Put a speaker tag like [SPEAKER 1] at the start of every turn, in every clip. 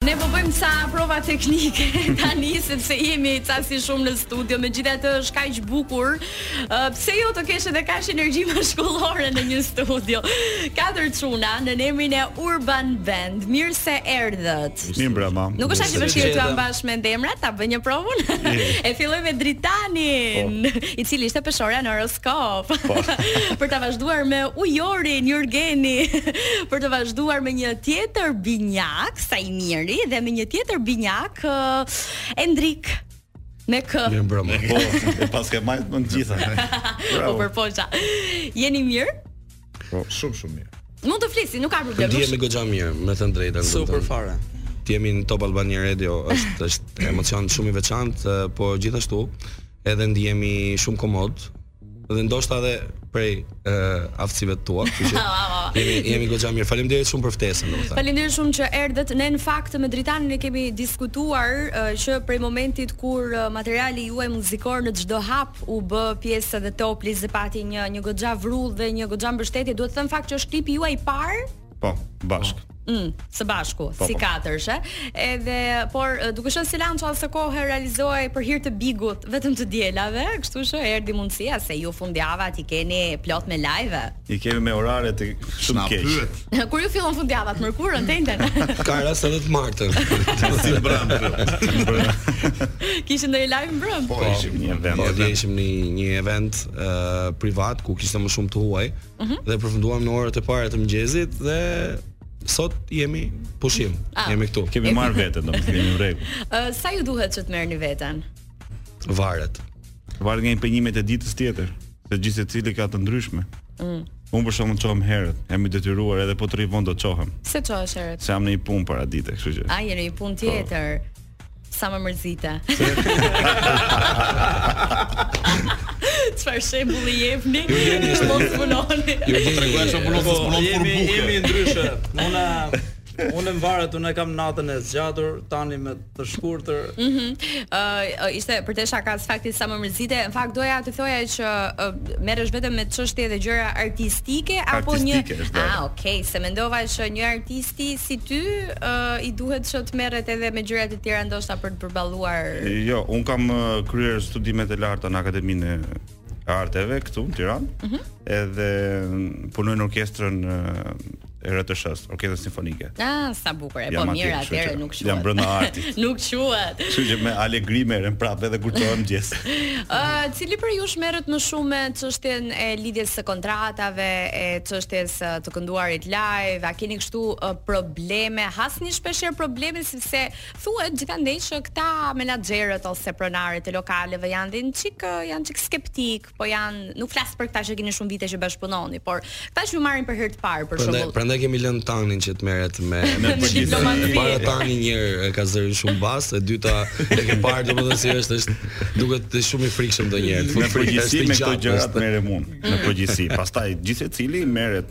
[SPEAKER 1] po bëjmë sa prova teknike tani sepse jemi ca si shumë në studio, megjithatë është kaq bukur. Ë, pse jo të kesh edhe kaq energji mashkullore në një studio. Katër çuna në emrin e Urban Band. Mirë se erdhët.
[SPEAKER 2] Mirë brama.
[SPEAKER 1] Nuk është aq e
[SPEAKER 2] Mirë se
[SPEAKER 1] vështirë të
[SPEAKER 3] erdhëm.
[SPEAKER 1] ambash me ndemrat, ta bëj një provën. e filloj me Dritanin,
[SPEAKER 4] Po.
[SPEAKER 1] i cili ishte peshora në horoskop. për ta vazhduar me Ujorin, Jurgeni, për të vazhduar me një tjetër binjak, Sajmiri dhe me një tjetër binjak ë, Endrik me kë.
[SPEAKER 4] Mirë mbrëmë.
[SPEAKER 2] Po, e pas ke majtë më të gjitha.
[SPEAKER 1] Po përpoqa. Jeni mirë?
[SPEAKER 2] Po,
[SPEAKER 4] Shumë shumë mirë.
[SPEAKER 1] Mund të flisi, nuk ka problem.
[SPEAKER 4] Ndihemi goxha mirë, me të drejtën.
[SPEAKER 3] Super fare.
[SPEAKER 4] Ti jemi në Top Albania Radio, është është emocion shumë i veçantë, eh, po gjithashtu edhe ndihemi shumë komod dhe ndoshta edhe prej uh, aftësive të tua, kështu që jemi jemi goxha mirë. Faleminderit shumë për ftesën, domethënë.
[SPEAKER 1] Faleminderit shumë që erdhët. Ne në fakt me Dritanin e kemi diskutuar uh, që prej momentit kur uh, materiali juaj muzikor në çdo hap u bë pjesë edhe toplis dhe pati një një goxha vrull dhe një goxha mbështetje, duhet të them fakt që është klipi juaj i parë
[SPEAKER 2] Po, bashk.
[SPEAKER 1] Mm, së bashku,
[SPEAKER 2] Po,
[SPEAKER 1] si
[SPEAKER 2] po.
[SPEAKER 1] katërsh, e? Edhe por e, duke qenë se lanço asë kohë realizohej për hir të bigut, vetëm të dielave, kështu që erdhi mundësia se ju fundjavat i keni plot me live.
[SPEAKER 2] I kemi me orare të shumë keq.
[SPEAKER 1] Kur ju fillon fundjavat mërkurën, tenten.
[SPEAKER 4] Ka rast edhe të martën.
[SPEAKER 5] Si brand.
[SPEAKER 2] Po,
[SPEAKER 1] Kishin ndonjë live mbrëm?
[SPEAKER 5] Po, ishim
[SPEAKER 2] një vend.
[SPEAKER 4] Po, dje ishim në një event uh, privat ku kishte më shumë të huaj dhe përfunduam në orët e para të mëngjesit dhe sot jemi pushim. Jemi këtu.
[SPEAKER 2] Kemi marrë veten, domethënë jemi në rregull.
[SPEAKER 1] Ë, sa ju duhet që të merrni veten?
[SPEAKER 4] Varet.
[SPEAKER 2] Varet nga impenjimet e ditës tjetër, se gjithë secili ka të ndryshme.
[SPEAKER 1] Mm.
[SPEAKER 2] Unë për shkakun çohem herët, jam i detyruar edhe po të rivon do çohem,
[SPEAKER 1] Se ço është erët?
[SPEAKER 2] se jam në një punë para dite, kështu që.
[SPEAKER 1] A jeni një punë tjetër. Sa më mërzite. Çfarë shembulli jepni? Mos punoni.
[SPEAKER 5] Po tregoj çfarë punon po punon për
[SPEAKER 3] Jemi jemi
[SPEAKER 5] bukë.
[SPEAKER 3] ndryshe. Unë unë më varet, unë e kam natën e zgjatur, tani me të shkurtër.
[SPEAKER 1] Ë uh, ishte për te shaka së fakti sa më mërzite. Në fakt doja të thoja që uh, merresh vetëm me çështje dhe gjëra artistike apo një
[SPEAKER 2] Artistike është
[SPEAKER 1] Ah,
[SPEAKER 2] fjala.
[SPEAKER 1] okay, se mendova që një artisti si ty uh, i duhet që të merret edhe me gjëra të tjera ndoshta për të përballuar.
[SPEAKER 2] Jo, un kam ë, kryer studimet e larta në Akademinë e Arteve këtu në Tiranë. Edhe mm, punoj në orkestrën ë, e RTS-s, orkestrën simfonike.
[SPEAKER 1] Ah, sa bukur. E po
[SPEAKER 2] Jam atje,
[SPEAKER 1] mirë
[SPEAKER 2] kështu
[SPEAKER 1] atëherë
[SPEAKER 2] që
[SPEAKER 1] nuk quhet.
[SPEAKER 2] jam brenda artit.
[SPEAKER 1] nuk quhet.
[SPEAKER 2] Kështu që me alegri merrem prapë edhe kur çohem mëngjes.
[SPEAKER 1] Ë, cili për jush merret më shumë me çështjen e lidhjes së kontratave, e çështjes ë, të kënduarit live? A keni kështu ë, probleme? Hasni shpeshherë probleme sepse thuhet gjithandej që këta menaxherët ose pronarët e lokaleve janë dhe një çik ë, janë çik skeptik, po janë nuk flas për këta që keni shumë vite që bashkëpunoni, por këta që ju marrin për herë të parë për
[SPEAKER 4] Prandaj
[SPEAKER 1] shembull.
[SPEAKER 4] prandaj kemi lënë tanin që të merret me me
[SPEAKER 2] Me
[SPEAKER 4] përgjithësi.
[SPEAKER 1] diplomati.
[SPEAKER 4] Para tani një herë e ka zërin shumë bas, e dyta e ke parë domethënë si është, është duket të shumë i frikshëm ndonjëherë. të
[SPEAKER 2] Në
[SPEAKER 4] frikë,
[SPEAKER 2] përgjithësi
[SPEAKER 4] është i
[SPEAKER 2] me këto
[SPEAKER 4] gjatë,
[SPEAKER 2] gjërat
[SPEAKER 4] është-
[SPEAKER 2] merrem unë, në përgjithësi. Pastaj gjithë secili merret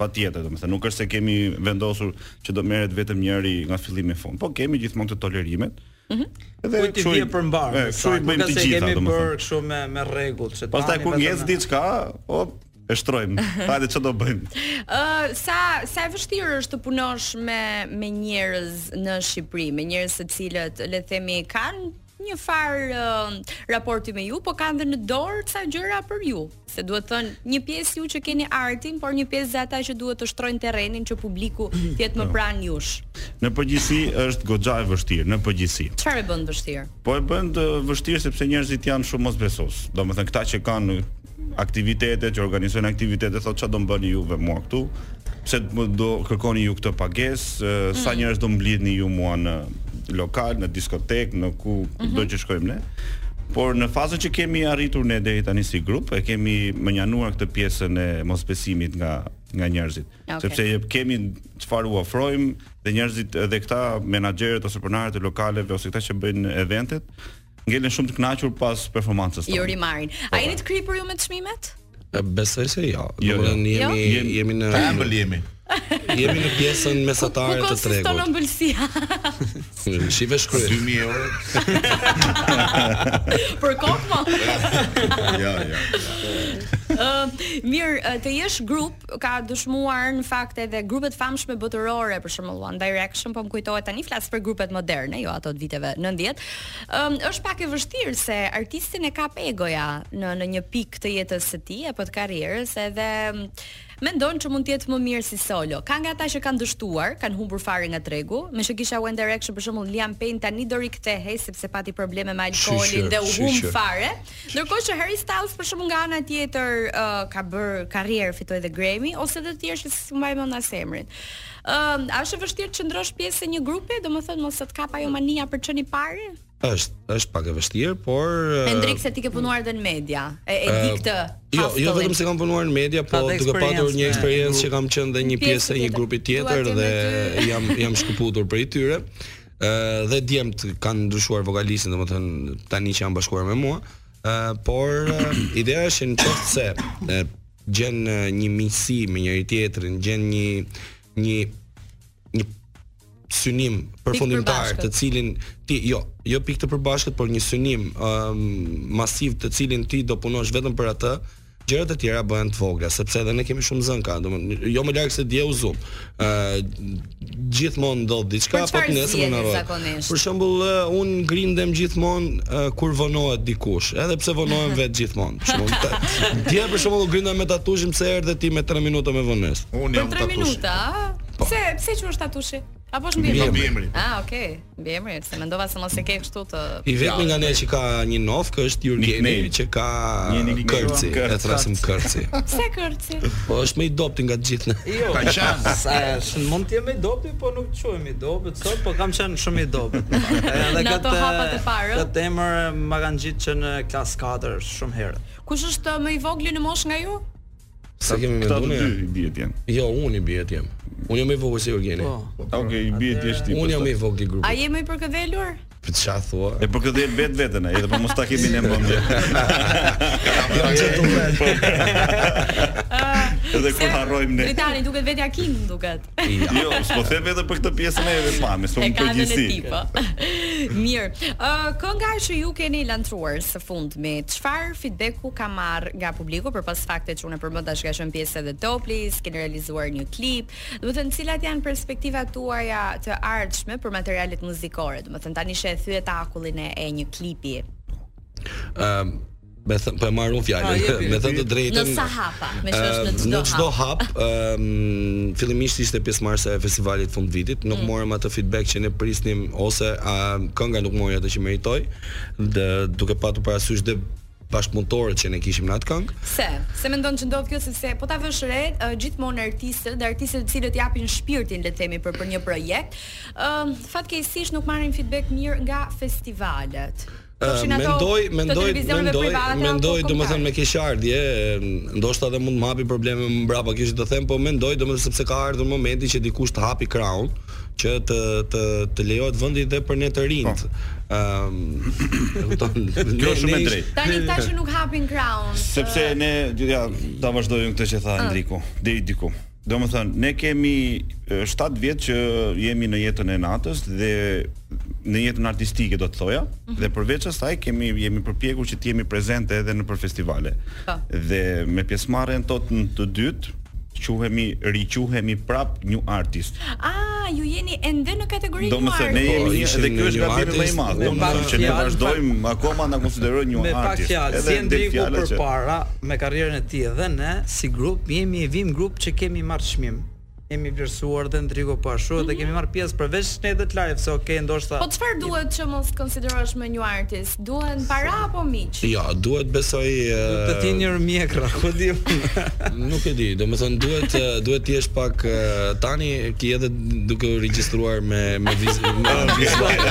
[SPEAKER 2] patjetër, domethënë nuk është se kemi vendosur që do merret vetëm njëri nga fillimi në fund. Po kemi gjithmonë të tolerimet. Edhe
[SPEAKER 3] Kujt i
[SPEAKER 2] kështu i-
[SPEAKER 3] vjen për mbar.
[SPEAKER 2] e, Kështu i bëjmë të gjitha
[SPEAKER 3] Kemi
[SPEAKER 2] domethënë.
[SPEAKER 3] bërë kështu me me rregull që
[SPEAKER 2] Pastaj
[SPEAKER 3] tani
[SPEAKER 2] kur
[SPEAKER 3] vetëm
[SPEAKER 2] ngjes
[SPEAKER 3] na-
[SPEAKER 2] diçka, hop, e shtrojmë. Hajde ç'do bëjmë.
[SPEAKER 1] Ë sa sa e vështirë është të punosh me me njerëz në Shqipëri, me njerëz të cilët le të themi kanë një farë uh, raporti me ju, po kanë dhe në dorë ca gjëra për ju. Se duhet thënë, një pjesë ju që keni artin, por një pjesë dhe ata që duhet të shtrojnë terrenin që publiku të jetë më pranë jush.
[SPEAKER 2] Në përgjithësi është goxha e vështirë, në përgjithësi.
[SPEAKER 1] Çfarë e bën vështirë?
[SPEAKER 2] Po e bën të vështirë sepse njerëzit janë shumë mosbesues. Domethënë këta që kanë aktivitete, që organizojnë aktivitete, thotë çfarë do mbani juve mua këtu? Pse më do kërkoni ju këtë pagesë? e, Sa njerëz do mblidhni ju mua në lokal, në diskotekë, në ku do që shkojmë ne? Por në fazën që kemi arritur ne deri tani si grup, e kemi mënjanuar këtë pjesën e mosbesimit nga nga njerëzit.
[SPEAKER 1] Okej.
[SPEAKER 2] Sepse e kemi çfarë u ofrojmë dhe njerëzit edhe këta menaxherët ose pronarët e lokaleve ose këta që bëjnë eventet ngelen shumë të kënaqur pas performancës
[SPEAKER 1] Ju
[SPEAKER 2] tonë.
[SPEAKER 1] rimarin. A jeni të kripur ju me çmimet?
[SPEAKER 4] E, Besoj se jo.
[SPEAKER 2] Jo, jo.
[SPEAKER 4] Domethënë jemi
[SPEAKER 2] Jo?
[SPEAKER 4] jemi në
[SPEAKER 5] Ëmbël jemi.
[SPEAKER 4] jemi në pjesën
[SPEAKER 1] Ku
[SPEAKER 4] mesatare të
[SPEAKER 1] konsiston
[SPEAKER 4] tregut.
[SPEAKER 1] ëmbëlsia?
[SPEAKER 4] Shive shkryp.
[SPEAKER 5] 2000 euro.
[SPEAKER 1] për kokë mo?
[SPEAKER 5] Ja, ja.
[SPEAKER 1] Ë, Mirë, e, të jesh grup ka dëshmuar në fakt edhe grupet famshme botërore, për shembull One Direction, po më kujtohet tani flas për grupet moderne, jo ato të viteve 90. Ëm është pak e vështirë se artistin e kap egoja në në një pikë të jetës së tij apo të karrierës, edhe mm, mendon që mund të jetë më mirë si solo. Ka nga ata që kanë dështuar, kanë humbur fare nga tregu, me që kisha One Direction për shembull Liam Payne tani do rikthehej sepse pati probleme me alkoolin
[SPEAKER 4] Shishe,
[SPEAKER 1] dhe u humb
[SPEAKER 4] shishe.
[SPEAKER 1] fare. Ndërkohë që Harry Styles për shembull nga ana tjetër uh, ka bër karrierë, fitoi edhe Grammy ose të tjerë që s'u mbaj mend as emrin. Ëm, a është e vështirë të qëndrosh pjesë e një grupi, domethënë mos të të kap ajo mania për çeni parë?
[SPEAKER 4] Është, është pak e vështirë, por ë,
[SPEAKER 1] Hendrik se ti ke punuar edhe në media. E, e di këtë.
[SPEAKER 4] Jo, jo
[SPEAKER 1] hustle-in.
[SPEAKER 4] vetëm se kam punuar në media, po
[SPEAKER 3] Ka dhe
[SPEAKER 4] duke patur
[SPEAKER 3] eksperiencë
[SPEAKER 4] një
[SPEAKER 3] me-
[SPEAKER 4] eksperiencë që kam qenë dhe një
[SPEAKER 1] Pjesë
[SPEAKER 4] pjesë e një
[SPEAKER 1] tjetër.
[SPEAKER 4] grupi
[SPEAKER 1] Dua
[SPEAKER 4] tjetër
[SPEAKER 1] t'jem
[SPEAKER 4] dhe
[SPEAKER 1] me ty.
[SPEAKER 4] jam jam shkëputur prej tyre. Ë dhe djemt kanë ndryshuar vokalistin, domethënë tani që janë bashkuar me mua. Ë por ë, ideja është në qoftë se ë, gjen ë, një miqësi me njëri tjetrin, gjen një një një synim përfundimtar,
[SPEAKER 1] përbashkët.
[SPEAKER 4] të cilin ti jo, jo pikë të përbashkët, por një synim um, masiv të cilin ti do punosh vetëm për atë, gjërat e tjera bëhen të vogla, sepse edhe ne kemi shumë zën ka, domethënë jo më lart se dje u zum. Ë gjithmonë ndodh diçka,
[SPEAKER 1] Për
[SPEAKER 4] po
[SPEAKER 1] çfarë
[SPEAKER 4] të nesër më
[SPEAKER 1] zgjeni
[SPEAKER 4] na
[SPEAKER 1] zakonisht?
[SPEAKER 4] Për shembull, ë, un grindem gjithmonë ë, kur vonohet dikush, edhe pse vonohem vetë gjithmonë. Për shembull, ta- dje për shembull u grindem me tatuzhin pse erdhe ti me 3 minuta me vonesë.
[SPEAKER 5] Unë
[SPEAKER 1] Për
[SPEAKER 5] jam
[SPEAKER 1] 3
[SPEAKER 5] tatush.
[SPEAKER 1] minuta, a? Pse pse që është tatushi? Apo është
[SPEAKER 4] Po. Mbi
[SPEAKER 1] mbi
[SPEAKER 4] emri.
[SPEAKER 1] emri?
[SPEAKER 5] Mbi emrin.
[SPEAKER 1] Ah, okay. Mbi emri, se mendova se mos e ke kështu të
[SPEAKER 4] I vetmi nga ne që ka një nofk është Jurgeni
[SPEAKER 2] Nickname.
[SPEAKER 4] që ka
[SPEAKER 2] Një nickname.
[SPEAKER 4] kërci,
[SPEAKER 2] Kërc.
[SPEAKER 4] e thrasim kërci.
[SPEAKER 1] pse kërci?
[SPEAKER 4] Po është më i dopti nga të gjithë ne.
[SPEAKER 3] Jo,
[SPEAKER 5] Ka qenë.
[SPEAKER 3] sa është, mund të jem i dobët, po nuk quhem i dobët sot, po kam qenë shumë i dobët. Edhe
[SPEAKER 1] Në ato hapat e parë.
[SPEAKER 3] Këtë emër ma kanë gjitë që në klasë 4 shumë herë.
[SPEAKER 1] Kush është uh, më i vogli në moshë nga ju?
[SPEAKER 4] Se kemi
[SPEAKER 2] Këta të
[SPEAKER 4] menduar.
[SPEAKER 2] dy
[SPEAKER 4] ne?
[SPEAKER 2] i bie janë.
[SPEAKER 4] Jo, unë i bie jam. Unë jam i vogël si Jurgeni.
[SPEAKER 3] Po.
[SPEAKER 2] Okej, i bie ti është ti.
[SPEAKER 4] Unë jam
[SPEAKER 2] pastaj.
[SPEAKER 4] i vogël i
[SPEAKER 1] A
[SPEAKER 4] grupit.
[SPEAKER 1] je më i përkëdhelur?
[SPEAKER 4] Për çfarë thua?
[SPEAKER 2] E për këtë vetë vetën ai, edhe po mos ta kemi në mendje. Edhe kur harrojmë ne.
[SPEAKER 1] Britani duket vetja King duket.
[SPEAKER 4] Ja.
[SPEAKER 2] Jo, s'po them edhe për këtë pjesën e vetë pamës, po
[SPEAKER 1] E
[SPEAKER 2] më
[SPEAKER 1] ka në e
[SPEAKER 2] përgjithsi.
[SPEAKER 1] tipa. Mirë. Ë kënga që ju keni lantruar së fundmi, çfarë feedbacku ka marr nga publiku përpas faktit që unë e përmend tash ka qenë pjesë edhe Toplis, keni realizuar një klip. Do të thënë cilat janë perspektivat tuaja të ardhshme për materialet muzikore? Do të thënë tani she e thyet akullin e, e një klipi
[SPEAKER 4] Ëm me thënë, po e marr unë
[SPEAKER 3] A,
[SPEAKER 4] fjalën.
[SPEAKER 3] jepi,
[SPEAKER 4] Me thënë të drejtën.
[SPEAKER 1] në sa hapa, me që është në
[SPEAKER 4] Ëm, Ehm, në
[SPEAKER 1] çdo
[SPEAKER 4] çdo
[SPEAKER 1] hap.
[SPEAKER 4] hap, ëm fillimisht ishte pjesëmarrëse e festivalit fund vitit, nuk
[SPEAKER 1] Mm.
[SPEAKER 4] morëm atë feedback që ne prisnim ose a, kënga nuk mori atë që meritoi, dhe duke patur parasysh dhe bashkëpunëtorët që ne kishim në atë këngë.
[SPEAKER 1] Pse? Se mendon që ndodh kjo sepse po ta vësh re uh, gjithmonë artistët dhe artistët të cilët japin shpirtin le të themi për për një projekt, ë fatkeqësisht nuk marrin feedback mirë nga festivalet.
[SPEAKER 4] Ë,
[SPEAKER 1] Qofshin ato
[SPEAKER 4] ehm, mendoj,
[SPEAKER 1] të
[SPEAKER 4] mendoj,
[SPEAKER 1] televizioneve
[SPEAKER 4] mendoj,
[SPEAKER 1] private po apo
[SPEAKER 4] mendoj,
[SPEAKER 1] kombëtare.
[SPEAKER 4] domethënë me keqardje, e, ndoshta edhe mund të hapi probleme më mbrapa kish të them, po mendoj domethënë sepse ka ardhur momenti që dikush të hapi kraun, që të të të lejohet vendi edhe për ne të rinjt. Ëm, e kupton?
[SPEAKER 2] Po. Kjo
[SPEAKER 4] Ne-
[SPEAKER 2] është shumë
[SPEAKER 4] ne
[SPEAKER 2] e
[SPEAKER 4] ish-
[SPEAKER 2] drejtë.
[SPEAKER 1] Tani këta që nuk hapin crown.
[SPEAKER 2] Sepse ne ja ta vazhdojmë këtë që tha Andriku deri diku. Domethënë, ne kemi e, 7 vjet që jemi në jetën e natës dhe në jetën artistike do të thoja, dhe përveç asaj kemi jemi përpjekur që të jemi prezente edhe në për festivale.
[SPEAKER 1] Po.
[SPEAKER 2] Dhe me pjesëmarrjen tot në të dytë quhemi riquhemi prap new artist.
[SPEAKER 1] Ah, ju jeni ende në kategorinë
[SPEAKER 2] Do më thënë, ne
[SPEAKER 1] juar.
[SPEAKER 3] Po,
[SPEAKER 2] jemi një,
[SPEAKER 4] ishim
[SPEAKER 2] dhe ky është
[SPEAKER 4] një
[SPEAKER 2] gabimi më i
[SPEAKER 4] artist,
[SPEAKER 2] madh.
[SPEAKER 4] me
[SPEAKER 2] Do më
[SPEAKER 3] pak
[SPEAKER 2] thënë që ne
[SPEAKER 3] fjalë,
[SPEAKER 2] vazhdojmë akoma na konsiderojnë një
[SPEAKER 3] Me pak
[SPEAKER 2] artist.
[SPEAKER 3] fjalë, si
[SPEAKER 2] edhe del
[SPEAKER 3] Endriku
[SPEAKER 2] fjala që-
[SPEAKER 3] përpara me karrierën e tij dhe ne si grup jemi e vim grup që kemi marrë çmim. Jemi vlerësuar dhe Endriku po ashtu dhe kemi marrë pjesë përveç ne dhe Klari, pse okay, ndoshta
[SPEAKER 1] Po çfarë duhet që mos konsiderosh më një artist? Duhen para apo miq?
[SPEAKER 4] Ja, Jo, duhet besoj eh,
[SPEAKER 3] të ti një mjekra, ku di. unë.
[SPEAKER 4] Nuk e di, domethënë duhet eh, duhet të jesh pak eh, tani ki edhe duke u regjistruar me me viz me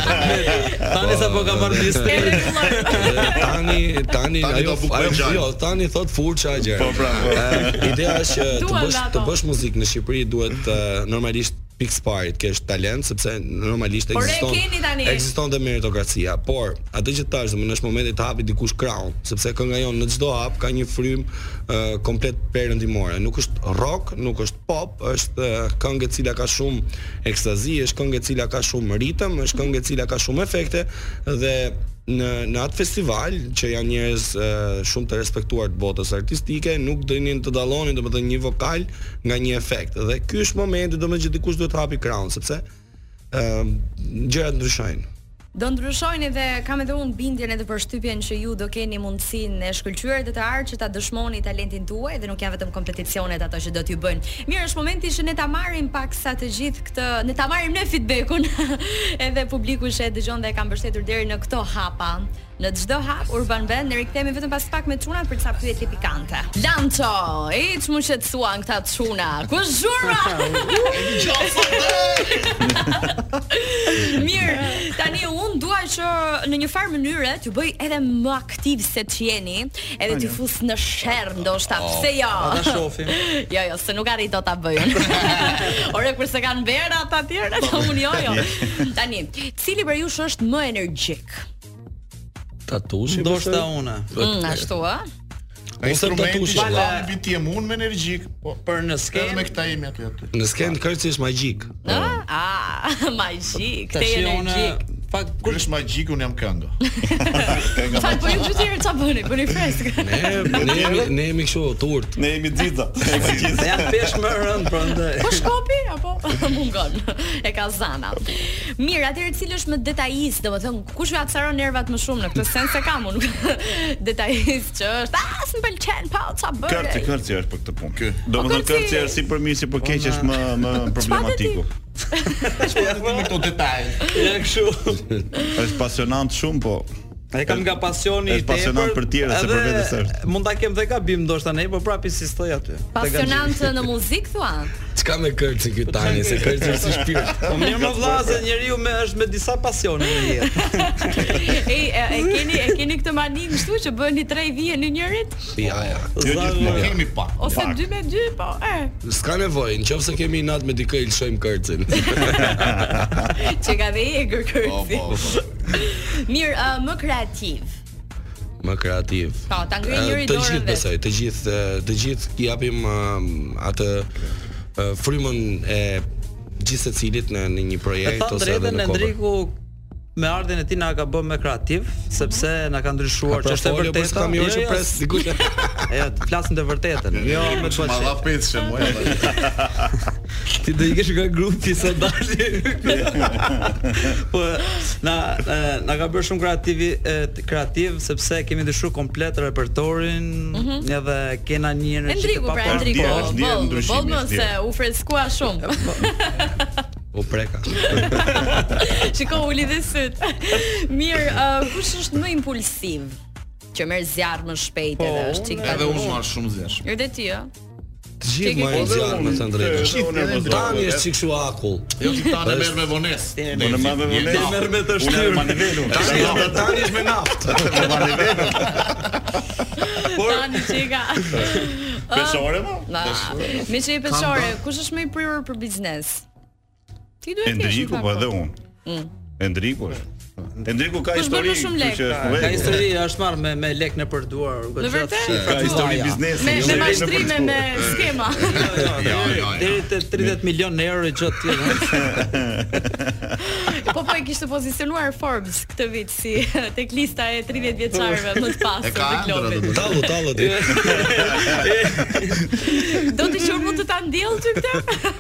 [SPEAKER 3] Tani sa po ka marrë listën.
[SPEAKER 1] Edhe vëllai.
[SPEAKER 4] tani tani
[SPEAKER 5] Tani do
[SPEAKER 4] ajo
[SPEAKER 5] bukë
[SPEAKER 4] ajo
[SPEAKER 5] gjan.
[SPEAKER 4] jo, tani thot furça gjë.
[SPEAKER 2] Po, pra, po.
[SPEAKER 4] Eh, Ideja është që të
[SPEAKER 1] Duan
[SPEAKER 4] bësh
[SPEAKER 1] ato.
[SPEAKER 4] të bësh muzikë në Shqipëri duhet eh, normalisht pikë spari të kesh talent sepse normalisht
[SPEAKER 1] Por e
[SPEAKER 4] ekziston
[SPEAKER 1] keni tani.
[SPEAKER 4] ekziston dhe meritokracia, por atë që tash domun është momenti të hapi dikush crown, sepse kënga jon në çdo hap ka një frym eh, komplet perëndimore. Nuk është rock, nuk është pop, është eh, këngë e cila ka shumë ekstazi, është këngë e cila ka shumë ritëm, është këngë e cila ka shumë efekte dhe në në atë festival që janë njerëz e, shumë të respektuar të botës artistike, nuk dënin të dallonin domethënë një vokal nga një efekt. Dhe ky është momenti domethënë që dikush duhet të hapi krahun, sepse ë gjërat ndryshojnë.
[SPEAKER 1] Do ndryshojnë edhe kam edhe unë bindjen edhe përshtypjen që ju do keni mundësinë e shkëlqyer të të artë që ta dëshmoni talentin tuaj dhe nuk janë vetëm kompeticionet ato që do t'ju bëjnë. Mirë, është momenti që ne ta marrim pak sa të gjithë këtë, ne ta marrim ne feedbackun edhe publiku që e dëgjon dhe e ka mbështetur deri në këto hapa. Në çdo hap Urban Band ne rikthehemi vetëm pas pak me çunat për ca pyetje pikante. Lanço, e çmu që të suan këta çuna. Ku zhurma? Mirë, tani unë dua që në një farë mënyre t'ju bëj edhe më aktiv se t'jeni, edhe t'ju fus në sherr ndoshta, pse jo?
[SPEAKER 3] ta shohim.
[SPEAKER 1] Jo, jo, se nuk arrit do ta bëj unë. Ore kur se kanë vera ata të tjerë, ata unë jo, jo. Tani, cili për jush është më energjik?
[SPEAKER 4] Tatushi.
[SPEAKER 3] Ndoshta unë.
[SPEAKER 1] Mm, ashtu ë?
[SPEAKER 5] Ai instrumenti
[SPEAKER 4] tatushi,
[SPEAKER 5] që
[SPEAKER 4] valla.
[SPEAKER 5] bën vit jam unë me energjik, po
[SPEAKER 3] Për në
[SPEAKER 5] edhe me
[SPEAKER 3] skem,
[SPEAKER 5] këta jemi aty aty.
[SPEAKER 4] Në skenë kërci është magjik.
[SPEAKER 1] Ë? Ah, magjik,
[SPEAKER 3] tash
[SPEAKER 1] te
[SPEAKER 3] unë
[SPEAKER 1] energjik.
[SPEAKER 3] pak
[SPEAKER 5] Kur është magjik unë jam këngë. Kënga
[SPEAKER 1] Fal, po ju dy tjerë çfarë bëni? Bëni freskë.
[SPEAKER 4] Ne ne jemi ne jemi kështu turt.
[SPEAKER 2] Ne jemi xixha.
[SPEAKER 3] Se janë pesh më rënd prandaj.
[SPEAKER 1] Po shkopi apo mungon. E ka zana. Mirë, atëherë cili është më detajist, domethënë kush ju acaron nervat më shumë në këtë sens se kam unë detajist që është, ah, s'm pëlqen, pa ça
[SPEAKER 2] Kërci,
[SPEAKER 1] bëre.
[SPEAKER 2] kërci është për këtë punë.
[SPEAKER 5] Ky.
[SPEAKER 2] Domethënë
[SPEAKER 1] kërci-
[SPEAKER 2] kërci është si për mirë si për keq është më më problematiku.
[SPEAKER 4] po,
[SPEAKER 5] me këto detaje.
[SPEAKER 3] Ja kështu.
[SPEAKER 2] Është pasionant shumë, po
[SPEAKER 3] E kam nga pasioni i
[SPEAKER 2] Është pasionant për tjerë, se për
[SPEAKER 3] edhe
[SPEAKER 2] vetes është.
[SPEAKER 3] Mund ta kem dhe gabim ndoshta ne, po prapë si stoj aty.
[SPEAKER 1] Pasionant në muzikë thua?
[SPEAKER 4] Çka me kërci ky tani, se kërci është si shpirt.
[SPEAKER 3] Po mirë më vllazë, njeriu me është me disa pasione në jetë.
[SPEAKER 1] E, e, e keni e keni këtë mani kështu që bëni tre vije në njërit
[SPEAKER 4] Ja, ja.
[SPEAKER 2] jo
[SPEAKER 5] Ne
[SPEAKER 2] gjithmonë.
[SPEAKER 5] kemi pak.
[SPEAKER 1] ose
[SPEAKER 2] Pak.
[SPEAKER 1] dy me dy, po. E,
[SPEAKER 4] S'ka nevojë, nëse kemi nat me dikë i lëshojmë kërcin.
[SPEAKER 1] që ka dhe e
[SPEAKER 5] Po,
[SPEAKER 1] gërkërci.
[SPEAKER 5] po, po.
[SPEAKER 1] Mirë, ë, më kreativ.
[SPEAKER 4] Më kreativ.
[SPEAKER 1] Po, ta ngrej
[SPEAKER 4] Eh,
[SPEAKER 1] njëri
[SPEAKER 4] Të
[SPEAKER 1] dorën
[SPEAKER 4] gjithë
[SPEAKER 1] vetë.
[SPEAKER 4] besoj, të gjithë eh, të gjithë i japim eh, atë eh, frymën e gjithë secilit në në një
[SPEAKER 3] E
[SPEAKER 4] projekt
[SPEAKER 3] thënë
[SPEAKER 4] ose edhe
[SPEAKER 3] drejtën
[SPEAKER 4] në kopër.
[SPEAKER 3] Endriku me ardhin e tij na ka bërë me kreativ, sepse na ka ndryshuar
[SPEAKER 4] pra
[SPEAKER 3] që është e vërtetë.
[SPEAKER 4] Kam jo që pres dikush.
[SPEAKER 3] Jo, të flasim të vërtetën. Jo, me të
[SPEAKER 5] Ma dha
[SPEAKER 3] vërtetë.
[SPEAKER 5] pesë që mua.
[SPEAKER 3] Ti do ikesh nga grupi sa dali. po na e, na ka bërë shumë kreativ kreativ sepse kemi ndryshuar komplet repertorin, edhe kena një energji të
[SPEAKER 1] Endriku Mhm. pra
[SPEAKER 3] paparë.
[SPEAKER 1] Endriku,
[SPEAKER 2] Është dje, është dje
[SPEAKER 1] boll,
[SPEAKER 2] ndryshimi,
[SPEAKER 1] boll më
[SPEAKER 2] është dje.
[SPEAKER 1] se u freskua shumë.
[SPEAKER 4] U preka.
[SPEAKER 1] Shiko uli dhe syt. Mirë, uh, kush është më impulsiv? Që merr zjarr më shpejt edhe
[SPEAKER 3] Po,
[SPEAKER 1] është çik.
[SPEAKER 5] Edhe unë marr shumë zësh.
[SPEAKER 1] Edhe ti jo? ë?
[SPEAKER 4] Të gjithë
[SPEAKER 1] Çike
[SPEAKER 4] më
[SPEAKER 1] ke-
[SPEAKER 4] zjarr me të drejtën.
[SPEAKER 5] Shit,
[SPEAKER 2] Unë e
[SPEAKER 5] edhe
[SPEAKER 2] mos-
[SPEAKER 4] Tani është si kështu akull.
[SPEAKER 5] Jo ti tani merr me vonesë.
[SPEAKER 2] Po në madhe vonë.
[SPEAKER 5] Ti merr me të
[SPEAKER 2] Unë
[SPEAKER 5] shtyrë.
[SPEAKER 2] jam nivelun.
[SPEAKER 4] Tani është Jo, tani është me naftë.
[SPEAKER 1] Por tani çika.
[SPEAKER 2] Peshore mo?
[SPEAKER 1] Na, me që i peshore, kush është më i prirur për biznes? Ti duhet të jesh.
[SPEAKER 2] Endriku po edhe unë. Endriku është. Endriku ka
[SPEAKER 1] Kush bën më
[SPEAKER 2] histori,
[SPEAKER 1] shumë lek?
[SPEAKER 2] kështu që është
[SPEAKER 3] Ka
[SPEAKER 2] vërtet.
[SPEAKER 3] histori është marrë me me lek në përduar,
[SPEAKER 1] Në vërtet?
[SPEAKER 2] Ka pra, histori biznesi.
[SPEAKER 1] Me,
[SPEAKER 2] jo
[SPEAKER 1] me
[SPEAKER 2] lek në
[SPEAKER 1] mashtrime,
[SPEAKER 2] përshkruar.
[SPEAKER 1] me skema.
[SPEAKER 5] Jo, jo, jo.
[SPEAKER 3] Deri te 30 milion euro gjatë tjetër.
[SPEAKER 1] po po e kishte pozicionuar Forbes këtë vit si tek lista e 30 vjeçarëve më të
[SPEAKER 5] E
[SPEAKER 1] pastë
[SPEAKER 5] ka
[SPEAKER 1] të
[SPEAKER 5] ëndra do
[SPEAKER 1] globit.
[SPEAKER 5] të thotë.
[SPEAKER 4] Tallu, tallu ti.
[SPEAKER 1] Do të qur mund të ta ndjell ty këtë?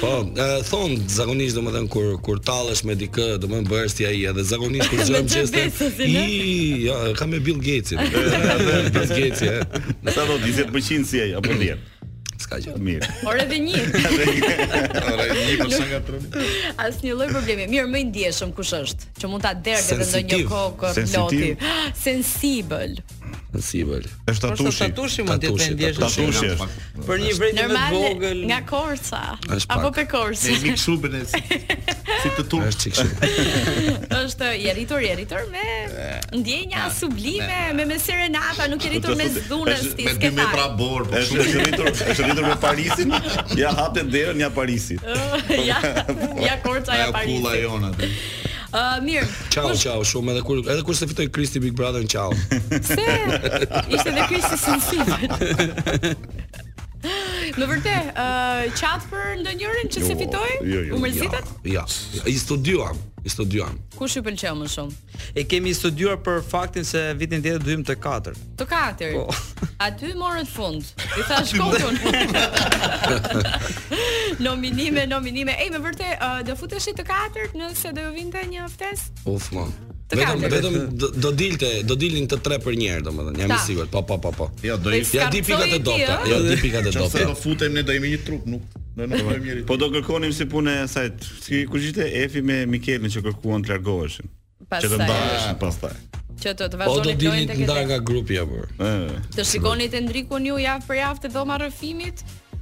[SPEAKER 4] Po, e, thon zakonisht domethën kur kur tallesh me dikë, domethën bëhesh ti ai edhe zakonisht kur
[SPEAKER 1] Me
[SPEAKER 4] zëm
[SPEAKER 1] Jeff
[SPEAKER 4] gjeste.
[SPEAKER 1] Bezosin,
[SPEAKER 4] I,
[SPEAKER 1] e?
[SPEAKER 4] ja, ka me Bill Gatesin. Edhe Bill Gatesi, e.
[SPEAKER 2] Sa do 20% si ai apo 10?
[SPEAKER 4] S'ka gjë.
[SPEAKER 2] Mirë.
[SPEAKER 1] Por edhe një.
[SPEAKER 5] Ora një për sa nga troni.
[SPEAKER 1] Asnjë lloj problemi. Mirë, më i ndjeshëm kush është? Që mund ta derdhë dhe ndonjë
[SPEAKER 4] Sensitiv.
[SPEAKER 1] kokë ploti.
[SPEAKER 2] Sensitiv.
[SPEAKER 1] Sensibël.
[SPEAKER 4] Sensibël.
[SPEAKER 2] Është
[SPEAKER 3] Është
[SPEAKER 2] tatushi.
[SPEAKER 3] tatushi mund të jetë
[SPEAKER 4] Tatushi,
[SPEAKER 3] ndjesh
[SPEAKER 2] tatushi.
[SPEAKER 3] shumë.
[SPEAKER 2] është.
[SPEAKER 3] Për një vërejtje më të
[SPEAKER 1] Normal
[SPEAKER 3] vogël.
[SPEAKER 1] nga Korca
[SPEAKER 4] Është pak.
[SPEAKER 1] apo pe
[SPEAKER 5] Ne
[SPEAKER 1] Korci.
[SPEAKER 5] mi kshu bën si si të turp.
[SPEAKER 4] Është çik shumë.
[SPEAKER 1] është i rritur, i rritur me ndjenja sublime, me me serenata, nuk i rritur me dhunës
[SPEAKER 2] Është
[SPEAKER 1] ti
[SPEAKER 5] Me 2 metra
[SPEAKER 1] skefar.
[SPEAKER 5] bor, po
[SPEAKER 2] Është
[SPEAKER 5] shumë
[SPEAKER 2] është rritur, është rritur me Parisin. Ja hapte derën ja Parisit.
[SPEAKER 1] ja, ja Korca ja
[SPEAKER 5] ajo pulla
[SPEAKER 1] Parisi.
[SPEAKER 5] jon aty.
[SPEAKER 1] Ë mirë,
[SPEAKER 4] Ciao, ciao, shumë edhe kur edhe kur se fitoi Kristi Big Brother, ciao.
[SPEAKER 1] Se ishte dhe ky si sensibil. Në vërtet, ë qat për ndonjërin që se
[SPEAKER 2] Jo,
[SPEAKER 1] fitoi?
[SPEAKER 2] jo, jo,
[SPEAKER 1] U
[SPEAKER 4] Ja,
[SPEAKER 1] mërzitet?
[SPEAKER 4] ja. I studiuam, i studiuam.
[SPEAKER 1] Kush ju pëlqeu më shumë?
[SPEAKER 3] E kemi studiuar për faktin se vitin tjetër do hym te 4.
[SPEAKER 1] Të katër.
[SPEAKER 3] Po.
[SPEAKER 1] Aty morët fund. I thash kokun. nominime, nominime. Ej, me vërtet, ë, do futeshi të katërt nëse do ju vinte një ftesë?
[SPEAKER 4] Uf, mon.
[SPEAKER 1] Të
[SPEAKER 4] Vetëm
[SPEAKER 1] kaltër.
[SPEAKER 4] vetëm do- do dilte, do dilin të tre për njerë, domethënë. Jam i
[SPEAKER 1] Ta.
[SPEAKER 4] sigurt. Po, po, po, po.
[SPEAKER 5] Ja, Jo, do
[SPEAKER 1] Po
[SPEAKER 5] i
[SPEAKER 1] i
[SPEAKER 4] Ja di pikat e
[SPEAKER 1] Skarcoj ti,
[SPEAKER 4] dopta,
[SPEAKER 1] ë?
[SPEAKER 4] ja di pikat e
[SPEAKER 5] Nëse
[SPEAKER 4] dopta.
[SPEAKER 5] do futem ne do imi një trup, nuk do nuk do njëri.
[SPEAKER 2] Po do kërkonim si punë e sajt. Si kush ishte Efi me Mikelin që kërkuan të largoheshin. Që të
[SPEAKER 1] Pastaj.
[SPEAKER 2] ndaheshin pastaj.
[SPEAKER 1] Që të të
[SPEAKER 4] Po do
[SPEAKER 1] vazhdoni
[SPEAKER 4] dilin
[SPEAKER 1] lojën
[SPEAKER 4] të
[SPEAKER 1] tek
[SPEAKER 4] ndar
[SPEAKER 1] e
[SPEAKER 4] nga grupi apo.
[SPEAKER 2] Ë.
[SPEAKER 1] Të shikoni të ndrikun ju javë për javë të dhoma rrëfimit?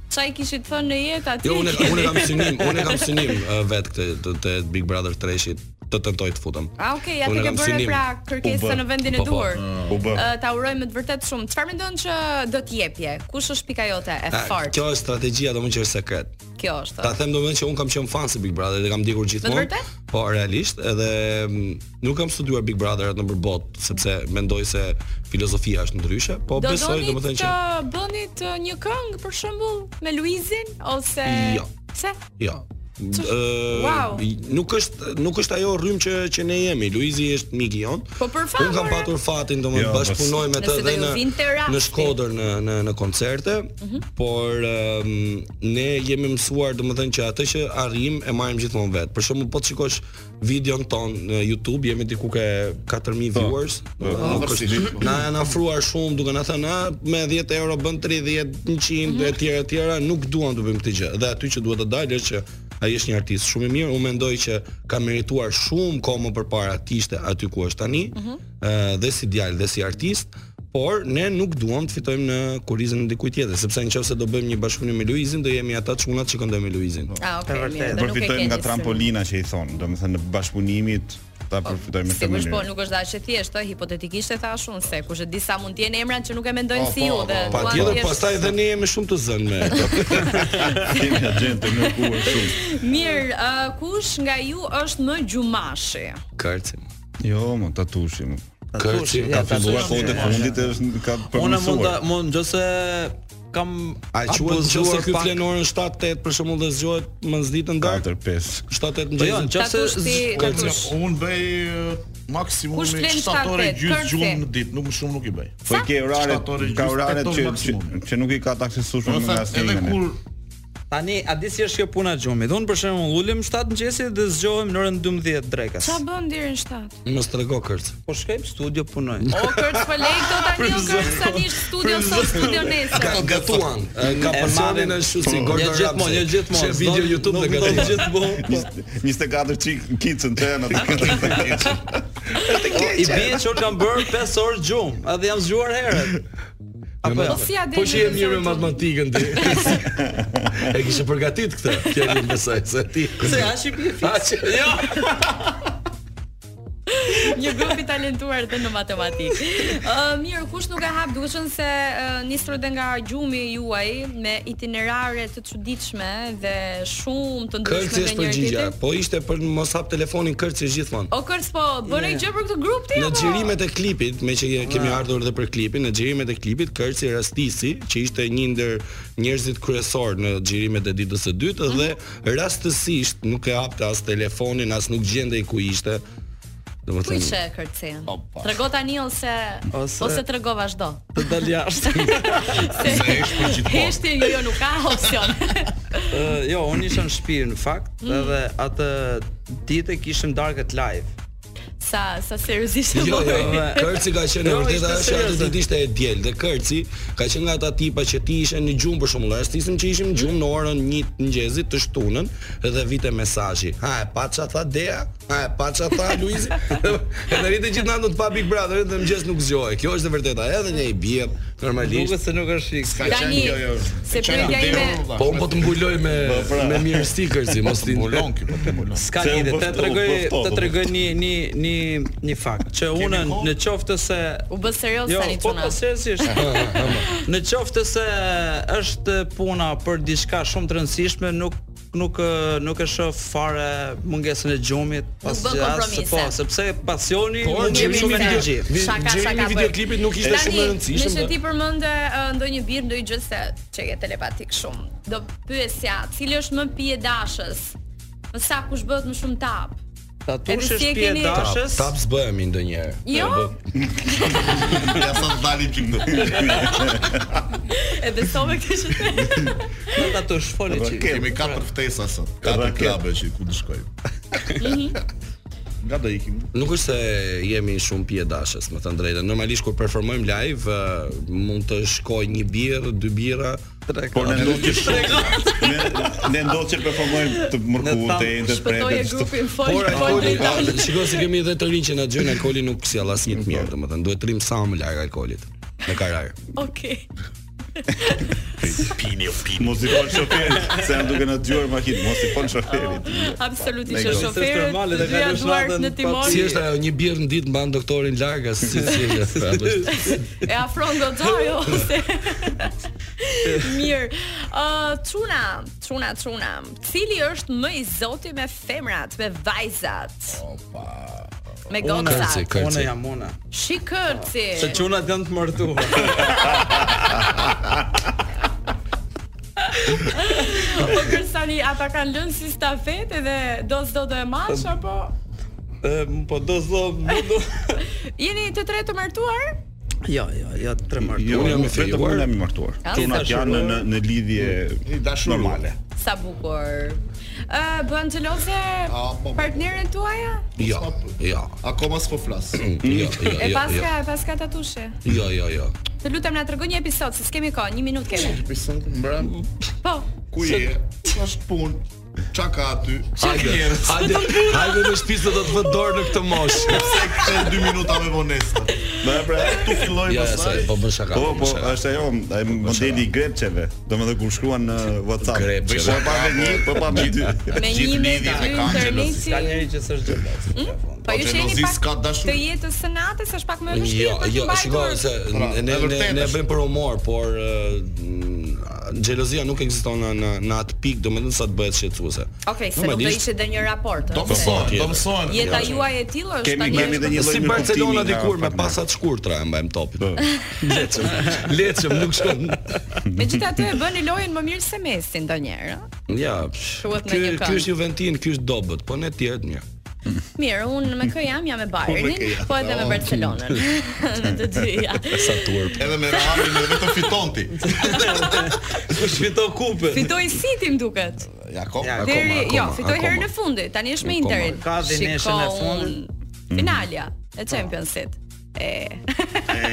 [SPEAKER 1] Çfarë i kishit thënë në jetë aty?
[SPEAKER 4] Jo, unë unë kam synim, unë kam synim eh, vet këtë të, të Big Brother 3-shit të tentoj të futem.
[SPEAKER 1] A, okay, Ah, ja
[SPEAKER 4] Unë
[SPEAKER 1] të ke
[SPEAKER 4] kam
[SPEAKER 1] bërë
[SPEAKER 4] synim.
[SPEAKER 1] pra
[SPEAKER 4] Po, U
[SPEAKER 1] kërkesë
[SPEAKER 4] bë.
[SPEAKER 1] në vendin e
[SPEAKER 4] Po, po.
[SPEAKER 1] duhur.
[SPEAKER 2] U bë.
[SPEAKER 1] Ë, Ta urojmë të vërtet shumë. Çfarë mendon që do të jepje? Kush është pika jote e
[SPEAKER 4] A,
[SPEAKER 1] fortë?
[SPEAKER 4] Ah, Kjo është strategjia domun që është sekret.
[SPEAKER 1] Kjo
[SPEAKER 4] Ta
[SPEAKER 1] është.
[SPEAKER 4] them domethënë që un kam qenë fan se Big Brother dhe kam ndjekur gjithmonë.
[SPEAKER 1] vërtet?
[SPEAKER 4] Po realisht, edhe mm, nuk kam studiuar Big Brother atë nëpër botë, sepse mendoj se filozofia është ndryshe, po
[SPEAKER 1] Do
[SPEAKER 4] besoj
[SPEAKER 1] doni
[SPEAKER 4] domethënë
[SPEAKER 1] të
[SPEAKER 4] që
[SPEAKER 1] bëni të një këngë për shembull me Luizin ose
[SPEAKER 4] Jo.
[SPEAKER 1] pse?
[SPEAKER 4] Jo. Ë,
[SPEAKER 1] Wow.
[SPEAKER 4] nuk është nuk është ajo rrym që që ne jemi. Luizi është mik i jon.
[SPEAKER 1] Po për fat.
[SPEAKER 4] Unë kam patur fatin
[SPEAKER 2] Jo,
[SPEAKER 4] domethënë bashkëpunoj me të
[SPEAKER 1] Nëse do
[SPEAKER 4] dhe
[SPEAKER 1] ju
[SPEAKER 4] në
[SPEAKER 1] vinte rasti. Mhm.
[SPEAKER 4] në Shkodër në në në koncerte, por um, ne jemi mësuar domethënë që atë që arrim e marrim gjithmonë vet. Për shembull, po të shikosh videon ton në YouTube, jemi diku ke 4000 viewers. domethënë, nuk
[SPEAKER 5] po,
[SPEAKER 4] është-
[SPEAKER 5] si.
[SPEAKER 4] Na janë afruar shumë duke na thënë, "Ah, me 10 euro bën 30, 100 e tjera e tjera, nuk duam të bëjmë këtë gjë." Dhe aty që duhet të dalë është që ai është një artist shumë i mirë. Unë mendoj që ka merituar shumë kohë më përpara të ishte aty ku është tani, ë
[SPEAKER 5] Mhm.
[SPEAKER 4] dhe si djalë dhe si artist por ne nuk duam të fitojmë në kurizën e dikujt tjetër, sepse nëse do bëjmë një bashkëpunim me Luizin, do jemi ata çunat që këndojmë me Luizin.
[SPEAKER 5] Po,
[SPEAKER 1] Ah, okay.
[SPEAKER 3] E vërtetë.
[SPEAKER 1] mirë, dhe nuk e
[SPEAKER 2] Përfitojmë
[SPEAKER 1] keni
[SPEAKER 2] nga
[SPEAKER 1] syrin.
[SPEAKER 2] trampolina që i thonë, domethënë në bashkëpunimit ta përfitojmë në këtë
[SPEAKER 1] Sigurisht po,
[SPEAKER 2] mënyrë.
[SPEAKER 1] nuk është dashje thjesht, ë, hipotetikisht e thash unë se kush e di sa mund të jenë emrat që nuk e mendojnë
[SPEAKER 5] Po,
[SPEAKER 1] si ju
[SPEAKER 5] po,
[SPEAKER 1] dhe
[SPEAKER 5] po,
[SPEAKER 1] duan
[SPEAKER 4] Patjetër,
[SPEAKER 1] thjesht-
[SPEAKER 4] pastaj edhe ne jemi shumë të zënë me këto.
[SPEAKER 2] Kemi agentë në kuar shumë.
[SPEAKER 1] Mirë, ë, kush nga ju është më gjumashi?
[SPEAKER 4] Kërcim.
[SPEAKER 2] Jo, mo tatushi. mo.
[SPEAKER 4] Kërci, ka
[SPEAKER 2] Ka filluar
[SPEAKER 3] tatushi.
[SPEAKER 2] kohët e fundit është ka
[SPEAKER 3] Unë mund ta
[SPEAKER 2] përmirësuar.
[SPEAKER 3] mund nëse kam
[SPEAKER 4] A quhet nëse
[SPEAKER 3] apozuar
[SPEAKER 4] ky
[SPEAKER 3] pak-
[SPEAKER 4] flen orën 7-8 për shembull dhe zgjohet mëndsditën darkë?
[SPEAKER 2] 4-5.
[SPEAKER 4] 7-8
[SPEAKER 3] Po jo,
[SPEAKER 4] mëngjesit.
[SPEAKER 3] nëse
[SPEAKER 1] Tatush ti- tatush.
[SPEAKER 5] Unë bëj e, maksimum
[SPEAKER 1] Kush
[SPEAKER 5] me
[SPEAKER 1] flen
[SPEAKER 5] 7 orë
[SPEAKER 1] shtatet,
[SPEAKER 5] gjysmë
[SPEAKER 1] kërce?
[SPEAKER 5] gjumë në ditë, nuk më shumë nuk i bëj.
[SPEAKER 2] Po i ke
[SPEAKER 5] Shtatë orë
[SPEAKER 2] oraret,
[SPEAKER 5] gjysmë,
[SPEAKER 2] ka oraret
[SPEAKER 5] shtatë
[SPEAKER 2] që,
[SPEAKER 5] orë
[SPEAKER 2] që,
[SPEAKER 5] maksimumi.
[SPEAKER 2] që nuk i ka taksuar
[SPEAKER 5] Do
[SPEAKER 2] me
[SPEAKER 5] të
[SPEAKER 2] asnjë.
[SPEAKER 5] edhe kur
[SPEAKER 3] tani a di si është kjo puna e xhumit? Unë për shembull ulem 7 mëngjesit dhe zgjohem në orën 12 drekës.
[SPEAKER 1] Qa bën deri në 7?
[SPEAKER 4] Mos trego kërc.
[SPEAKER 3] Po shkoj në studio punoj.
[SPEAKER 1] O kërc po lej këto tani o kërc tani është studio sot studio nesër.
[SPEAKER 4] Ka gatuan, e, ka
[SPEAKER 3] E
[SPEAKER 4] personin
[SPEAKER 3] marrin-
[SPEAKER 4] e shu si
[SPEAKER 3] Jo
[SPEAKER 4] Gordon Ramsay.
[SPEAKER 3] gjithmonë, jo gjithmonë.
[SPEAKER 4] Shef video
[SPEAKER 3] s'do-
[SPEAKER 4] YouTube dhe
[SPEAKER 3] nuk do
[SPEAKER 4] gatuan.
[SPEAKER 3] Gjithmonë.
[SPEAKER 2] 24 çik kicën të janë atë.
[SPEAKER 3] I bie që unë kam bërë 5 orë gjumë, edhe jam zgjuar herët. Apo
[SPEAKER 1] Po si ja deri?
[SPEAKER 4] Po që je
[SPEAKER 1] në
[SPEAKER 4] mirë me
[SPEAKER 1] rezultat?
[SPEAKER 4] matematikën ti. e kishe përgatit këtë fjalën besoj se ti.
[SPEAKER 3] Se a shqipi e
[SPEAKER 4] A që-
[SPEAKER 3] Jo.
[SPEAKER 1] Një grup i talentuar dhe në matematikë. Ë mirë, kush nuk e hap, duke qenë se uh, nisur edhe nga gjumi juaj me itinerare të çuditshme dhe shumë të
[SPEAKER 4] Kërci
[SPEAKER 1] ndryshme me
[SPEAKER 4] është
[SPEAKER 1] njëri
[SPEAKER 4] përgjigja,
[SPEAKER 1] tjetrin.
[SPEAKER 4] po ishte për mos hap telefonin kërci është gjithmonë.
[SPEAKER 1] O kërc po, bën ai gjë për këtë grup ti
[SPEAKER 4] Në
[SPEAKER 1] apo?
[SPEAKER 4] xhirimet e klipit, me që kemi ardhur edhe për klipin, në xhirimet e klipit Kërci Rastisi, që ishte një ndër njerëzit kryesor në xhirimet e ditës së dytë
[SPEAKER 1] Mhm.
[SPEAKER 4] dhe rastësisht nuk e hapte as telefonin, as nuk gjendej ku ishte.
[SPEAKER 1] Ku
[SPEAKER 4] Domethënë,
[SPEAKER 1] ishe kërcin? Trego tani ose
[SPEAKER 3] Ose-
[SPEAKER 1] ose, trego vazhdo.
[SPEAKER 3] Të dal jashtë.
[SPEAKER 1] Se heshti jo nuk ka opsion.
[SPEAKER 3] Ë, jo, unë isha në shtëpi në fakt, edhe atë ditë kishim darkët live.
[SPEAKER 1] sa sa seriozisht
[SPEAKER 4] Jo, jo,
[SPEAKER 1] jo.
[SPEAKER 3] me-
[SPEAKER 4] Kërci ka qenë
[SPEAKER 3] Jo,
[SPEAKER 4] e vërtetë
[SPEAKER 3] ishte
[SPEAKER 4] ajo që atë
[SPEAKER 3] serioze.
[SPEAKER 4] ditë ishte e diel dhe Kërci ka qenë nga ata tipa që ti ishe në gjumë për shembull, rastisim që ishim në gjumë në orën 1 të mëngjesit të shtunën dhe vite mesazhi. Ha e pa ça tha Dea, ha e pa ça tha Luizi. Edhe rritë gjithë natën të pa Big Brother dhe mëngjes nuk zgjohej. Kjo është e vërteta, edhe ne i bie normalisht.
[SPEAKER 3] Duket se nuk është fiks.
[SPEAKER 5] ka
[SPEAKER 1] Tani,
[SPEAKER 5] qenë jo jo.
[SPEAKER 1] se pyetja ime-
[SPEAKER 4] Po unë po të mbuloj me me mirësi Kërci, mos ti.
[SPEAKER 5] mbulon ky, po të mbulon.
[SPEAKER 3] Ska
[SPEAKER 2] Se
[SPEAKER 3] lidhje,
[SPEAKER 2] u
[SPEAKER 3] të
[SPEAKER 2] bëfto,
[SPEAKER 3] tregoj
[SPEAKER 2] u bëfto,
[SPEAKER 3] të
[SPEAKER 2] u
[SPEAKER 3] tregoj një një një një fakt që unë
[SPEAKER 5] kohë?
[SPEAKER 3] në qoftë se
[SPEAKER 1] U bë serioz
[SPEAKER 3] Jo,
[SPEAKER 1] tani
[SPEAKER 3] po
[SPEAKER 1] çuna.
[SPEAKER 3] po seriozisht. në qoftë se është puna për diçka shumë të rëndësishme, nuk nuk ë, nuk e shoh fare mungesën e gjumit pas
[SPEAKER 1] bën kompromise.
[SPEAKER 3] po, sepse pasioni
[SPEAKER 4] Por
[SPEAKER 3] unë
[SPEAKER 1] gjumi
[SPEAKER 3] jemi shumë
[SPEAKER 1] mirë.
[SPEAKER 3] energji.
[SPEAKER 1] Vi- Shaka, gjumi shaka, i bëj.
[SPEAKER 4] videoklipit nuk ishte
[SPEAKER 1] Tani,
[SPEAKER 4] shumë e po. rëndësishme,
[SPEAKER 1] Nëse
[SPEAKER 4] dhe-
[SPEAKER 1] ti përmende ë, ndonjë birë, ndonjë gjë se që ke telepatik shumë, do pyesja, cili është më pije dashës? Më sa kush bëhet më shumë tap?
[SPEAKER 3] Tatush
[SPEAKER 1] Edhe si
[SPEAKER 3] është
[SPEAKER 1] e
[SPEAKER 3] pje
[SPEAKER 1] keni-
[SPEAKER 4] Tap,
[SPEAKER 3] dashës.
[SPEAKER 4] tap s'bëhemi ndonjëherë.
[SPEAKER 1] Jo?
[SPEAKER 5] Ja sa dalin këtu.
[SPEAKER 1] E besove këtë që the.
[SPEAKER 3] Nuk tatush foli çik.
[SPEAKER 5] Kemi katër ftesa sot. Katër
[SPEAKER 2] Raket.
[SPEAKER 5] klabe që ku të shkojmë. Nga do ikim?
[SPEAKER 4] Nuk është se jemi shumë pije dashës, më thënë drejtën. Normalisht kur performojmë live, ë, mund të shkoj një birë, dy bira,
[SPEAKER 2] Por ne ndodh që shumë. Ne ne ndodh që performojmë të mërkurë,
[SPEAKER 3] Ne
[SPEAKER 2] të
[SPEAKER 3] tham,
[SPEAKER 2] endet
[SPEAKER 1] Shpëtoje
[SPEAKER 2] prepet. çdo-
[SPEAKER 1] grupin fol,
[SPEAKER 4] Por
[SPEAKER 1] fol
[SPEAKER 4] alkooli,
[SPEAKER 1] drejton.
[SPEAKER 4] shikoj se kemi edhe të rinj që na gjën alkooli nuk sjell asnjë të mirë, domethënë duhet të rrim sa më larg alkoolit me karar.
[SPEAKER 1] Okej.
[SPEAKER 2] Mos i fol shoferit, se janë duke na dëgjuar makinë, mos i fol shoferit.
[SPEAKER 1] Absolutisht
[SPEAKER 2] Ne
[SPEAKER 1] e
[SPEAKER 2] gjë.
[SPEAKER 3] Është
[SPEAKER 1] shoferit.
[SPEAKER 3] normale, dhe
[SPEAKER 1] Dyja
[SPEAKER 3] kalojsh
[SPEAKER 1] duart
[SPEAKER 3] natën
[SPEAKER 1] në
[SPEAKER 3] pa-
[SPEAKER 1] timon.
[SPEAKER 4] Si është ajo një birë në ditë mban doktorin larg as si si është.
[SPEAKER 1] E afron goxhajo ose Mirë. Uh, Ë çuna, çuna, çuna. Cili është më i zoti me femrat, me vajzat,
[SPEAKER 5] Opa.
[SPEAKER 1] me
[SPEAKER 4] Kërci,
[SPEAKER 1] gocat?
[SPEAKER 3] Unë
[SPEAKER 4] kërci.
[SPEAKER 3] jam unë.
[SPEAKER 1] Shikërci.
[SPEAKER 3] Se çunat janë të martuar.
[SPEAKER 1] Po kërcani ata kanë lënë si stafetë dhe do s'do do e mash apo
[SPEAKER 3] Ë, po do zë, nuk do.
[SPEAKER 1] jeni të tre të martuar?
[SPEAKER 3] Jo, jo, jo, tre martuar.
[SPEAKER 2] Jo,
[SPEAKER 4] Unë jam i
[SPEAKER 2] vetëm
[SPEAKER 4] fejuar.
[SPEAKER 2] unë jam i martuar.
[SPEAKER 1] Ah,
[SPEAKER 2] Tuna
[SPEAKER 3] si
[SPEAKER 2] janë
[SPEAKER 3] dashuruar.
[SPEAKER 2] në në lidhje
[SPEAKER 5] I dashuruar.
[SPEAKER 2] normale.
[SPEAKER 1] Sa bukur. Ë bën xheloze
[SPEAKER 5] po, po.
[SPEAKER 1] partnerin tuaja?
[SPEAKER 4] Jo, jo.
[SPEAKER 5] Akoma s'po flas.
[SPEAKER 4] Jo, jo,
[SPEAKER 1] E
[SPEAKER 4] jo.
[SPEAKER 1] paska, e paska tatushe.
[SPEAKER 4] Jo, jo, jo.
[SPEAKER 1] Të lutem na tregoj një episod, se s'kemi kohë, një minutë kemi.
[SPEAKER 5] Pisën mbrëm.
[SPEAKER 1] Po.
[SPEAKER 5] Ku je? Është punë. Qa ka aty?
[SPEAKER 4] Hajde,
[SPEAKER 5] njerëz?
[SPEAKER 4] hajde, hajde në shtëpi se do të vë dorë në këtë moshë.
[SPEAKER 5] Pse kthe 2 minuta me vonesë?
[SPEAKER 2] Më pra, tu filloi
[SPEAKER 4] Ja, sa
[SPEAKER 2] pastaj.
[SPEAKER 4] po bën shaka.
[SPEAKER 2] Po,
[SPEAKER 4] bën
[SPEAKER 2] po,
[SPEAKER 4] shaka.
[SPEAKER 2] është ajo, ai modeli i grepçeve. Domethënë kur shkruan në WhatsApp.
[SPEAKER 4] Grepçeve.
[SPEAKER 2] Po pa me një, po pa me dy.
[SPEAKER 1] Me një
[SPEAKER 5] Gjithë
[SPEAKER 1] me dy
[SPEAKER 5] lidhja e ka xhelozi.
[SPEAKER 3] Ka
[SPEAKER 1] interneti.
[SPEAKER 3] njëri që s'është xheloz.
[SPEAKER 1] Po ju sheni
[SPEAKER 5] xhelozis ka
[SPEAKER 1] pak
[SPEAKER 5] dashur.
[SPEAKER 1] të jetës së natës është pak më e
[SPEAKER 4] Jo,
[SPEAKER 1] vështirë për të
[SPEAKER 4] jo, shikoj se
[SPEAKER 1] mbajtur.
[SPEAKER 5] Pra,
[SPEAKER 4] ne ne
[SPEAKER 5] e
[SPEAKER 4] ne,
[SPEAKER 5] vërtetë
[SPEAKER 4] ne
[SPEAKER 5] është.
[SPEAKER 4] bëjmë për humor, por ë, xhelozia nuk ekziston në- në në atë pikë, domethënë sa të bëhet shqetësuese.
[SPEAKER 1] Okej, se nuk do
[SPEAKER 4] Normalisht-
[SPEAKER 1] ishte dhe një raport.
[SPEAKER 5] Do
[SPEAKER 1] ëh, se
[SPEAKER 5] mësohen, do
[SPEAKER 4] tjetër.
[SPEAKER 5] mësohen.
[SPEAKER 1] Jeta juaj e tillë është
[SPEAKER 2] Kemi
[SPEAKER 1] tani.
[SPEAKER 2] kemi edhe një lloj
[SPEAKER 4] Si
[SPEAKER 2] në
[SPEAKER 4] Barcelona
[SPEAKER 2] kuptimin nga
[SPEAKER 4] dikur me
[SPEAKER 2] partneri.
[SPEAKER 4] pasa të shkurtra e mbajmë topin.
[SPEAKER 2] Po.
[SPEAKER 4] Leçëm, leçëm nuk shkon.
[SPEAKER 1] Megjithatë e bëni lojën më mirë se Messi ndonjëherë. ëh.
[SPEAKER 4] Ja.
[SPEAKER 1] Thuhet në
[SPEAKER 4] Ky
[SPEAKER 1] një këngë.
[SPEAKER 4] ky është Juventin, ky është Dobët, po ne të tjerët mirë.
[SPEAKER 1] Mirë, unë me kë jam, jam me
[SPEAKER 5] Unë me kë
[SPEAKER 1] Bayernin,
[SPEAKER 5] jam.
[SPEAKER 1] po edhe me
[SPEAKER 5] Oh.
[SPEAKER 1] Barcelonën. me të dyja.
[SPEAKER 4] Sa turp.
[SPEAKER 5] Edhe me Realin edhe vetëm fiton ti.
[SPEAKER 3] Kush fiton kupën?
[SPEAKER 1] Fitoi City më duket.
[SPEAKER 5] Jakob.
[SPEAKER 4] Ja,
[SPEAKER 1] Deri,
[SPEAKER 4] akoma,
[SPEAKER 1] jo,
[SPEAKER 4] akoma,
[SPEAKER 1] fitoi herën
[SPEAKER 4] akoma.
[SPEAKER 1] e fundit. Tani është me
[SPEAKER 4] Akoma.
[SPEAKER 1] Interin.
[SPEAKER 3] Ka dhe
[SPEAKER 1] Shiko,
[SPEAKER 3] neshën e fundit.
[SPEAKER 1] unë- Finalja e
[SPEAKER 3] Po.
[SPEAKER 1] Championsit. E.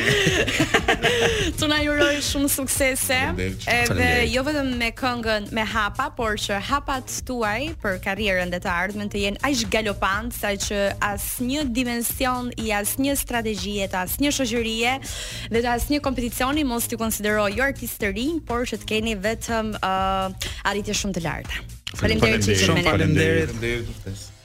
[SPEAKER 1] Tuna ju uroj shumë suksese
[SPEAKER 5] Faleminderit.
[SPEAKER 1] edhe
[SPEAKER 4] Faleminderit.
[SPEAKER 1] jo vetëm me këngën me hapa, por që hapat tuaj për karrierën dhe të ardhmen të jenë aq galopant sa që asnjë dimension i asnjë strategjie të asnjë shoqërie dhe të asnjë kompeticioni mos t'ju konsideroj jo artistë të rinj, por që të keni vetëm uh, arritje shumë të larta. Faleminderit që
[SPEAKER 2] Faleminderit.
[SPEAKER 1] ishit me ne.
[SPEAKER 3] Faleminderit.
[SPEAKER 5] É um Faleminderit për ftesën.